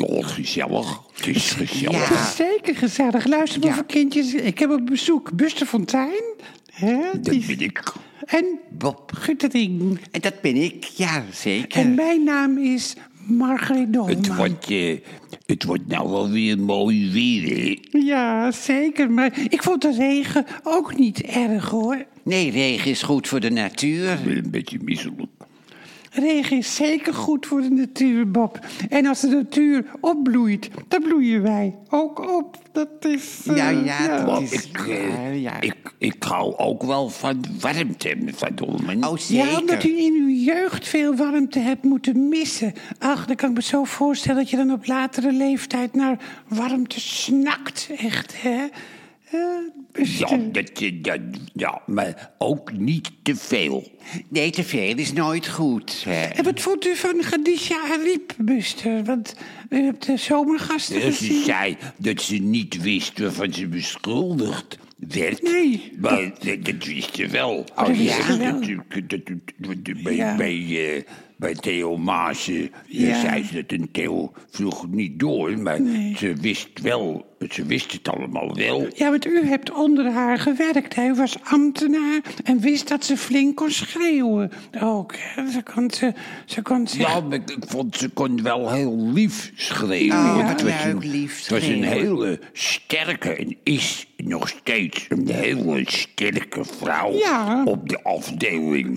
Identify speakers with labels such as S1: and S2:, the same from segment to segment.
S1: Oh, gezellig. Het is gezellig.
S2: Het Oh, is zeker gezellig. Luister maar
S1: Ja.
S2: voor kindjes. Ik heb op bezoek Buster Fontijn. Hè,
S1: Dat ben ik.
S2: En
S1: Bob.
S2: Guttering.
S1: En dat ben ik, ja, zeker.
S2: En mijn naam is Margreet
S1: het,
S2: Dolman.
S1: wordt, eh, het wordt nou wel weer mooi weer, hè?
S2: Ja, zeker. Maar ik vond de regen ook niet erg hoor.
S3: Nee, regen is goed voor de natuur.
S1: Ik ben een beetje misselijk.
S2: Regen is zeker goed voor de natuur, Bob. En als de natuur opbloeit, dan bloeien wij ook op. Dat is. eh,
S3: Ja, ja, dat
S1: Maar
S3: is-
S1: ik, eh,
S2: ja.
S1: Ik, ik hou ook wel van warmte, van Dolman.
S2: Ja,
S3: Oh, zeker.
S2: omdat u in uw jeugd veel warmte hebt moeten missen. Ach, dan kan ik me zo voorstellen dat je dan op latere leeftijd naar warmte snakt. Echt, hè? Eh, beste-
S1: ja, dat, eh, dat, ja, maar ook niet te veel.
S3: Nee, te veel is nooit goed. Hè.
S2: En wat vond u van Khadija Ariep, Buster? Want u hebt de zomergasten
S1: Eh, Ze
S2: gezien.
S1: zei dat ze niet wist waarvan ze beschuldigd werd.
S2: Nee. Oh,
S1: Maar dat, dat wist ze wel.
S2: dat wist
S1: ja,
S2: ze wel.
S1: dat- dat- dat- dat- dat- bij,
S2: Ja.
S1: bij, eh, bij Theo Maassen eh,
S2: Ja.
S1: zei ze dat. En Theo vroeg niet door, maar
S2: Nee.
S1: ze wist wel, ze wist het allemaal wel.
S2: Ja, want u hebt onder haar gewerkt. Hij was ambtenaar en wist dat ze flink kon schreeuwen. Ook, hè? Ze kon, ze, ze kon zich...
S1: Ja, maar ik, ik vond ze kon wel heel lief schreeuwen.
S3: Oh,
S1: hoor.
S3: ja.
S1: Het was
S3: Ja,
S1: een,
S3: ook lief
S1: het was een
S3: schreeuwen.
S1: hele sterke en is nog steeds een hele sterke vrouw
S2: Ja.
S1: op de afdeling.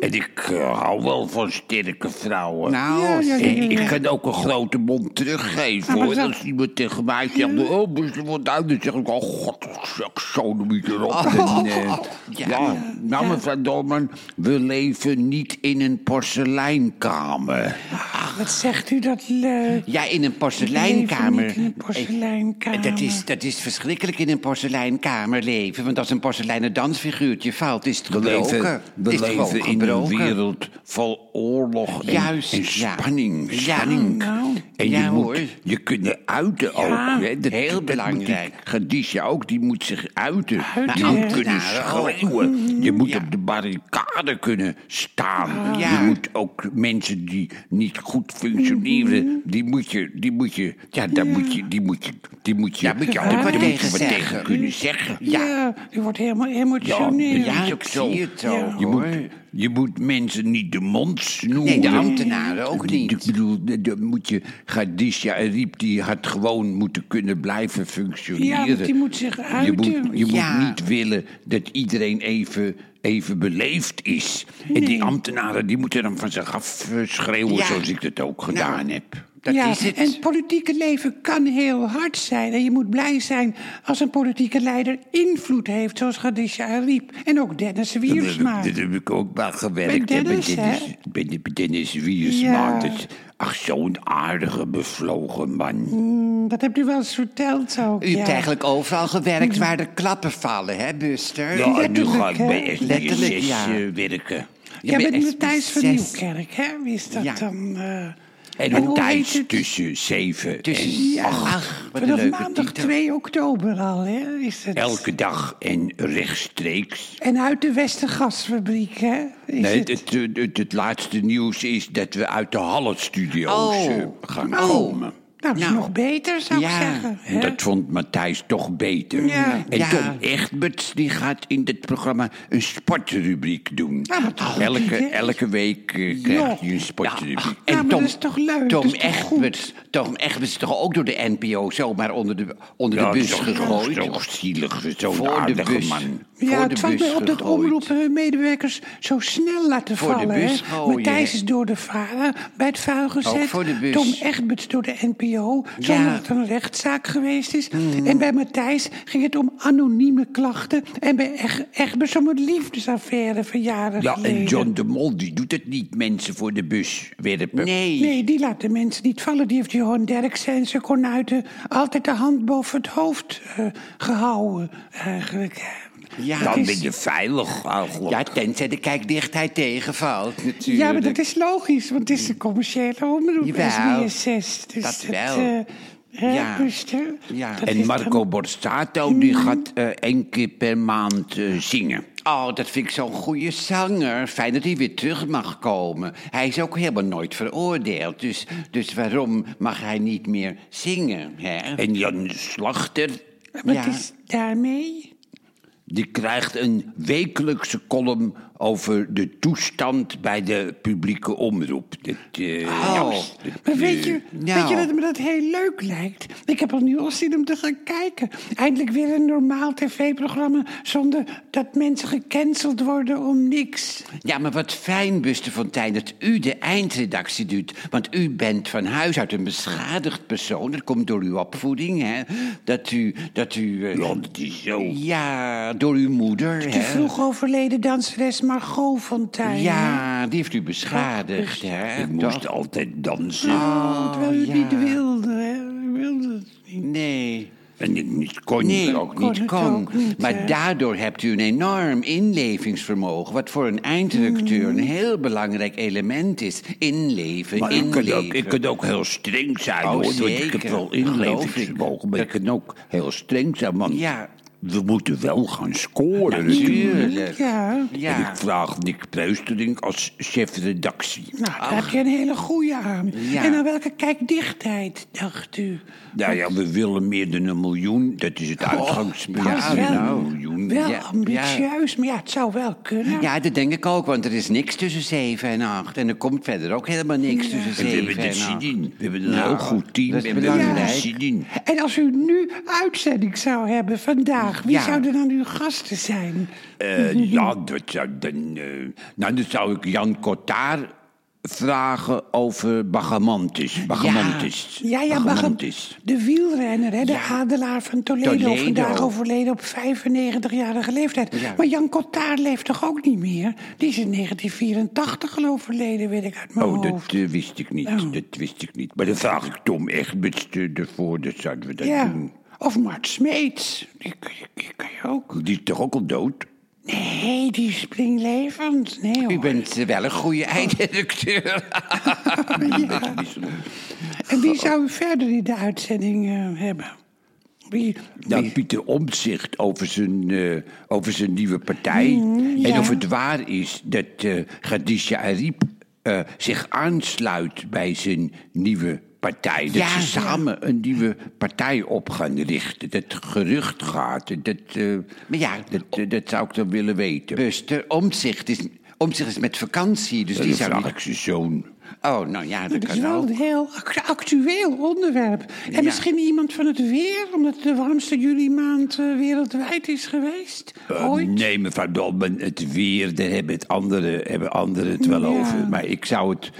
S1: En ik eh, hou wel van sterke vrouwen.
S3: Mhm. Nou,
S2: Ja, ja, ja. Ah,
S1: Eh, Ik kan ook een grote mond teruggeven
S2: maar
S1: hoor.
S2: dat-
S1: Als iemand tegen mij zegt, oh, beste wordt uit, dan zeg ik, oh god, ik zo niet erop.
S2: Oh.
S1: En, eh, ja, nou mevrouw Dolman, we leven niet in een porseleinkamer.
S2: Ach, wat zegt u dat leuk.
S3: Ja, in een
S2: Leven
S3: porseleinkamer.
S2: niet in een porseleinkamer.
S3: Eh, Dat is, dat is verschrikkelijk in een porseleinkamer leven. Want als een porseleinen dansfiguurtje valt, is het
S1: We
S3: gebroken.
S1: leven, we
S3: is het gewoon
S1: leven in een
S3: gebroken.
S1: wereld vol oorlog en,
S3: Juist,
S1: en
S3: ja.
S1: spanning.
S3: Ja,
S1: spanning.
S2: nou.
S1: En je
S3: Ja,
S1: moet
S3: hoor.
S1: je kunnen uiten ook. Hè. Dat,
S3: heel
S1: dat moet
S3: belangrijk.
S1: die Khadija ook, die moet zich uiten.
S2: Uiten,
S1: je moet
S2: hè.
S1: kunnen
S3: Ambtenaren ook.
S1: schreeuwen. Je moet
S3: Nou, oh. Ja.
S1: op de barricade kunnen staan.
S3: Ja.
S1: Je moet ook mensen die niet goed
S3: Mhm.
S1: functioneren, die moet je, die moet je, ja, daar moet je, die moet je, die moet je,
S3: Daar moet je
S1: daar
S3: ook wat
S1: moet je
S3: tegen zeggen.
S1: kunnen zeggen.
S2: Ja, u wordt helemaal emotioneel.
S1: Ja,
S3: Ja,
S1: is
S3: ik
S1: ook zo.
S3: zie het zo,
S1: Je, moet,
S3: hoor.
S1: je moet mensen niet de mond snoeren.
S3: Nee, de ambtenaren ook
S1: Ik
S3: niet.
S1: bedoel, de- de- moet je, Gadisha en Riep, die had gewoon moeten kunnen blijven functioneren.
S2: Ja, want die moet zich
S1: Je
S2: uiten.
S1: moet, je
S3: Ja.
S1: moet niet willen dat iedereen even, even beleefd is. En die ambtenaren die moeten dan van zich af eh, schreeuwen,
S3: Ja. Nou,
S1: zoals ik dat ook gedaan heb.
S3: Dat
S2: ja,
S3: is het.
S2: en het politieke leven kan heel hard zijn. En je moet blij zijn als een politieke leider invloed heeft, zoals Khadija Ariep. En ook Dennis Wiersma.
S1: Dat heb, ik- dat heb ik ook wel gewerkt.
S2: Bij
S1: hè,
S2: Dennis,
S1: bij Dennis, bij de- bij Dennis Wiersma.
S2: Ja.
S1: Dat is- ach, zo'n aardige, bevlogen
S2: Mm,
S1: man.
S2: Dat hebt u wel eens verteld ook.
S3: U
S2: ja.
S3: hebt eigenlijk overal gewerkt waar de klappen vallen, hè, Buster?
S1: Ja, en nu
S2: letterlijk,
S1: ga ik bij
S2: hè?
S1: SBS
S3: Letterlijk, ja.
S1: eh, werken.
S2: Jij
S3: bent
S2: bent
S3: echt
S2: Matthijs van
S3: zes.
S2: Nieuwkerk, hè? Wie is dat
S3: Ja.
S2: dan? eh?
S1: En een
S2: heet
S1: tijd
S2: het?
S1: tussen 7
S3: Tussen-
S1: en
S3: Dus- ja.
S1: 8.
S3: Ach, dus? wat een
S2: Vanaf
S3: leuke
S2: maandag
S3: titel.
S2: 2 oktober al, hè? Is het.
S1: Elke dag en rechtstreeks.
S2: En uit de Westergasfabriek, hè? Is
S1: Nee,
S2: het...
S1: het, het, het- het laatste nieuws is dat we uit de Hallenstudio's
S3: Oh.
S1: eh, gaan
S2: Oh.
S1: komen.
S2: Nou, dat is
S3: Nou.
S2: nog beter, zou ik
S3: Ja.
S2: zeggen.
S1: En
S2: hè?
S1: dat vond Matthijs toch beter.
S2: Ja.
S1: En
S3: Ja.
S1: Tom Egberts die gaat in dit programma een sportrubriek doen.
S2: Ja, wat goed
S1: elke,
S2: idee.
S1: elke week eh, krijgt hij een sportrubriek.
S2: Ja, maar dat is toch leuk, dat
S3: Tom
S2: is dus toch
S3: Egberts, Tom Egberts is toch ook door de NPO zomaar onder de, onder
S1: Ja,
S3: de bus
S1: toch
S3: gegooid?
S1: Zo zielig, zo'n
S3: Voor de
S1: aardige
S3: bus.
S1: man.
S2: Ja,
S3: voor de
S2: het valt
S3: bus
S2: mij op dat
S3: gegooid.
S2: omroepen hun medewerkers zo snel laten
S3: Voor de
S2: vallen.
S3: bus
S2: hè.
S3: gooien,
S2: Matthijs
S3: hè.
S2: is door de varen bij het vuil gezet.
S3: voor de bus.
S2: Tom Egberts door de NPO, zonder dat er een rechtszaak geweest is.
S3: Hmm.
S2: En bij Matthijs ging het om anonieme klachten. En bij Eg- Egberts om een liefdesaffaire van jaren
S1: Ja,
S2: geleden.
S1: en John de Mol die doet het niet mensen voor de bus werpen.
S3: Nee.
S2: Nee, die laat de mensen niet vallen. Die heeft Johan Derksen en zijn konuiten altijd de hand boven het hoofd eh, gehouden, eigenlijk.
S3: Ja,
S2: Dat
S1: Dan
S2: is-
S1: ben je veilig eigenlijk.
S3: Ja, tenzij de kijkdichtheid tegenvalt, natuurlijk.
S2: Ja, maar dat is logisch, want het is een commerciële omroep,
S3: Jawel,
S2: SBS 6. Dus
S3: dat wel.
S2: eh, Hè,
S3: Ja.
S2: Buster?
S3: Ja.
S2: Dat
S1: En
S2: is
S1: Marco Borsato
S2: Hmm.
S1: die gaat eh, één keer per maand eh, zingen.
S3: Oh, dat vind ik zo'n goede zanger. Fijn dat hij weer terug mag komen. Hij is ook helemaal nooit veroordeeld. Dus, dus waarom mag hij niet meer zingen, hè?
S1: En Jan Slachter,
S2: dan- Wat
S3: ja.
S2: is daarmee?
S1: die krijgt een wekelijkse column over de toestand bij de publieke omroep. Dat, eh, ja, dat,
S2: Oh, Maar weet
S1: eh,
S2: je,
S3: Oh, nou.
S2: weet je dat me dat heel leuk lijkt? Ik heb al nu al zin om te gaan kijken. Eindelijk weer een normaal tv-programma zonder dat mensen gecanceld worden om niks.
S3: Ja, maar wat fijn, Buster Fontijn, dat u de eindredactie doet. Want u bent van huis uit een beschadigd persoon. Dat komt door uw opvoeding, hè? Dat u... Dat u eh,
S1: ja, dat is zo.
S3: ja, door uw moeder,
S2: De
S3: hè?
S2: vroeg overleden danseres Margot Fonteyn.
S3: Ja, die heeft u beschadigd,
S1: Ik
S3: hè? Toch?
S1: moest altijd dansen.
S2: Oh, terwijl u het
S3: ja.
S2: niet wilde, hè? U wilde het niet.
S3: Nee.
S1: En ik niet kon
S3: Nee,
S1: er ook
S2: kon
S1: niet.
S3: niet
S2: het
S3: kon.
S2: ook niet,
S3: maar
S2: hè?
S3: daardoor hebt u een enorm inlevingsvermogen. Wat voor een eindredacteur
S2: Mm.
S3: een heel belangrijk element is. Inleven,
S1: Maar ik kan,
S3: inleven.
S1: ook, ik kan ook heel streng zijn,
S3: Oh,
S1: hoor. Want ik
S3: zeker.
S1: heb wel
S3: Dat geloof
S1: inlevingsvermogen, maar ik kan ook heel streng zijn. Want
S3: Ja.
S1: we moeten wel gaan scoren. natuurlijk.
S3: Tuurlijk.
S2: Ja.
S1: En ik
S3: Ja.
S1: vraag Nick Pruistering als chefredactie.
S2: Nou, daar heb je een hele goeie aan.
S3: Ja.
S2: En aan welke kijkdichtheid dacht u?
S1: Nou ja, we willen meer dan een miljoen. Dat is het uitgangspunt.
S3: dat
S2: Oh, is
S1: Ja,
S2: wel-
S1: nou, een miljoen.
S2: Wel
S3: ja,
S2: ambitieus, maar ja, het zou wel kunnen.
S3: Ja, dat denk ik ook, want er is niks tussen 7 en 8. En er komt verder ook helemaal niks tussen
S1: En we
S3: 7
S1: hebben de
S3: en 8.
S1: Sidin. We hebben een
S3: Nou,
S1: heel goed team.
S3: dat is
S1: en we hebben de
S3: belangrijk.
S1: Sidin.
S2: En als u nu uitzending zou hebben vandaag, wie
S3: Ja.
S2: zouden dan uw gasten zijn?
S1: Eh, ja, dat zou dan. eh, nou, dan zou ik Jan Kotaar vragen over Bagamantis. Bagamantis.
S2: Ja, ja, Bagam-
S1: Bagamantis.
S2: de wielrenner, hè, de adelaar van Toledo,
S3: Toledo.
S2: vandaag overleden op 95-jarige leeftijd.
S3: Ja.
S2: Maar Jan Kottaar leeft toch ook niet meer? Die is in 1984 al overleden, weet ik uit mijn
S1: Oh,
S2: hoofd.
S1: dat eh, wist ik niet.
S2: Oh.
S1: Dat wist ik niet. Maar dan vraag ik Tom Egberts eh, ervoor. Dat zouden we dat
S2: ja.
S1: doen.
S2: Of Mart Smeets, die kan, je, die kan je ook.
S1: Die is toch ook al dood?
S2: Nee, die is springlevend. Nee,
S3: U
S2: hoor.
S3: bent eh, wel een goede eindredacteur.
S2: Ja. En wie zou u verder in de uitzending eh, hebben? Wie?
S1: Nou, Pieter Omtzigt over zijn, eh, over zijn nieuwe partij. En
S3: Mm,
S2: ja.
S1: of het waar is dat eh Khadija Ariep eh, zich aansluit bij zijn nieuwe partij. Dat
S3: Ja,
S1: ze
S3: ja.
S1: samen een nieuwe partij op gaan richten. Dat gerucht gaat. Dat, eh,
S3: Maar ja,
S1: dat, eh, dat zou ik dan willen weten.
S3: Buster, omzicht is, omzicht is met vakantie, dus die
S1: Die
S3: zou
S1: vraag
S3: niet...
S1: ik zijn zoon.
S3: Oh, nou ja, dat
S2: Het is
S3: kan
S2: wel
S3: ook.
S2: Dus een heel act- actueel onderwerp. En
S3: Ja.
S2: misschien iemand van het weer, omdat het de warmste juli maand eh, wereldwijd is geweest.
S3: Ehm,
S1: Eh,
S2: Ooit.
S1: Nee, mevrouw Dolman, het weer, daar hebben, het andere, hebben anderen het wel
S2: Ja.
S1: over. Maar ik zou het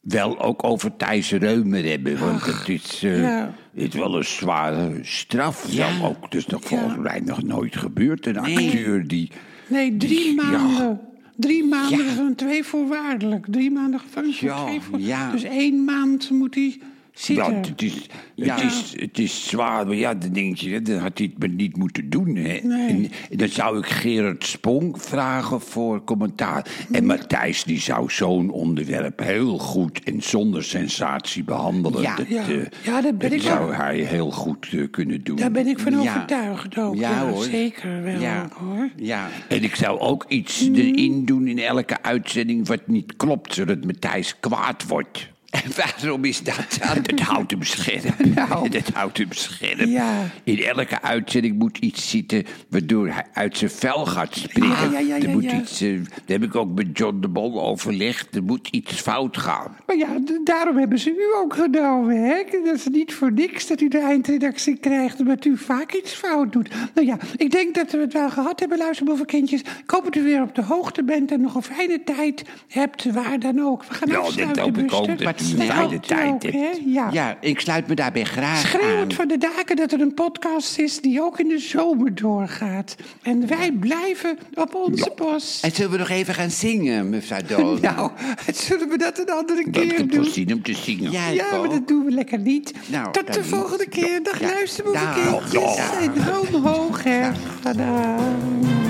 S1: wel ook over Thijs Reumer hebben. Want het is, eh,
S2: ja.
S1: het is wel een zware straf.
S3: Ja.
S1: Dan ook. Het is nog volgens mij nog nooit gebeurd. Een acteur die...
S2: Nee, drie
S1: Ja.
S2: maanden. Drie maanden
S3: Ja.
S2: van twee voorwaardelijk. Drie maanden gevangenis voor
S3: Ja,
S2: twee voorwaardelijk.
S3: ja.
S2: Dus één maand moet hij
S1: Ja,
S2: zitten.
S1: het, is,
S3: Ja.
S1: Het, is, het is zwaar, maar ja, dan denk je, dan had hij het maar niet moeten doen. Hè.
S2: Nee.
S1: En dan zou ik Gerard Spong vragen voor commentaar.
S2: Mm.
S1: En Matthijs die zou zo'n onderwerp heel goed en zonder sensatie behandelen.
S3: Ja.
S1: dat,
S2: Ja.
S1: eh,
S2: Ja, dat ben ik
S1: zou
S2: ook.
S1: hij heel goed eh, kunnen doen.
S2: Daar ben ik van
S3: Ja.
S2: overtuigd ook. Ja, zeker wel
S3: ja.
S2: hoor.
S3: Ja.
S1: En ik zou ook iets erin doen in elke uitzending wat niet klopt, zodat Matthijs kwaad wordt.
S3: En waarom is dat dan? Nou.
S1: Dat houdt hem scherp. Dat houdt hem scherp.
S2: Ja.
S1: In elke uitzending moet iets zitten waardoor hij uit zijn vel
S3: Ah,
S1: gaat springen.
S2: Ja, ja, ja, ja,
S1: er moet
S2: ja.
S1: Iets, eh, daar heb ik ook met John de Mol overlegd. Er moet iets fout gaan.
S2: Maar ja, d- daarom hebben ze u ook genomen, hè? Dat is niet voor niks dat u de eindredactie krijgt... omdat u vaak iets fout doet. Nou ja, ik denk dat we het wel gehad hebben, luisterboevenkindjes. Ik hoop dat u weer op de hoogte bent en nog een fijne tijd hebt... waar dan ook. We gaan
S1: Ja, dat
S2: afsluiten,
S1: hoop ik
S2: Buster.
S1: ook, dat u een
S2: Dat
S1: fijne
S2: hoopt u
S1: tijd
S2: ook,
S1: hebt. Ehm.
S2: hè? Ja.
S3: Ja, ik sluit me daarbij graag aan.
S2: Schreeuwend van de daken dat er een podcast is... die ook in de zomer doorgaat. En wij blijven op onze post.
S3: En zullen we nog even gaan zingen, mevrouw Dolan?
S2: Nou, zullen we dat een andere
S1: Dat ik
S2: keer
S1: heb wel
S2: doen?
S1: zin om te zingen.
S3: Ja,
S2: Ja, maar dat doen we lekker niet.
S3: Nou,
S2: Tot de
S3: dan
S2: volgende
S3: niet.
S2: keer. Dag,
S3: Ja,
S2: luisterboevenkindjes.
S3: dag.
S2: En droom hoog, hè. Tadaa.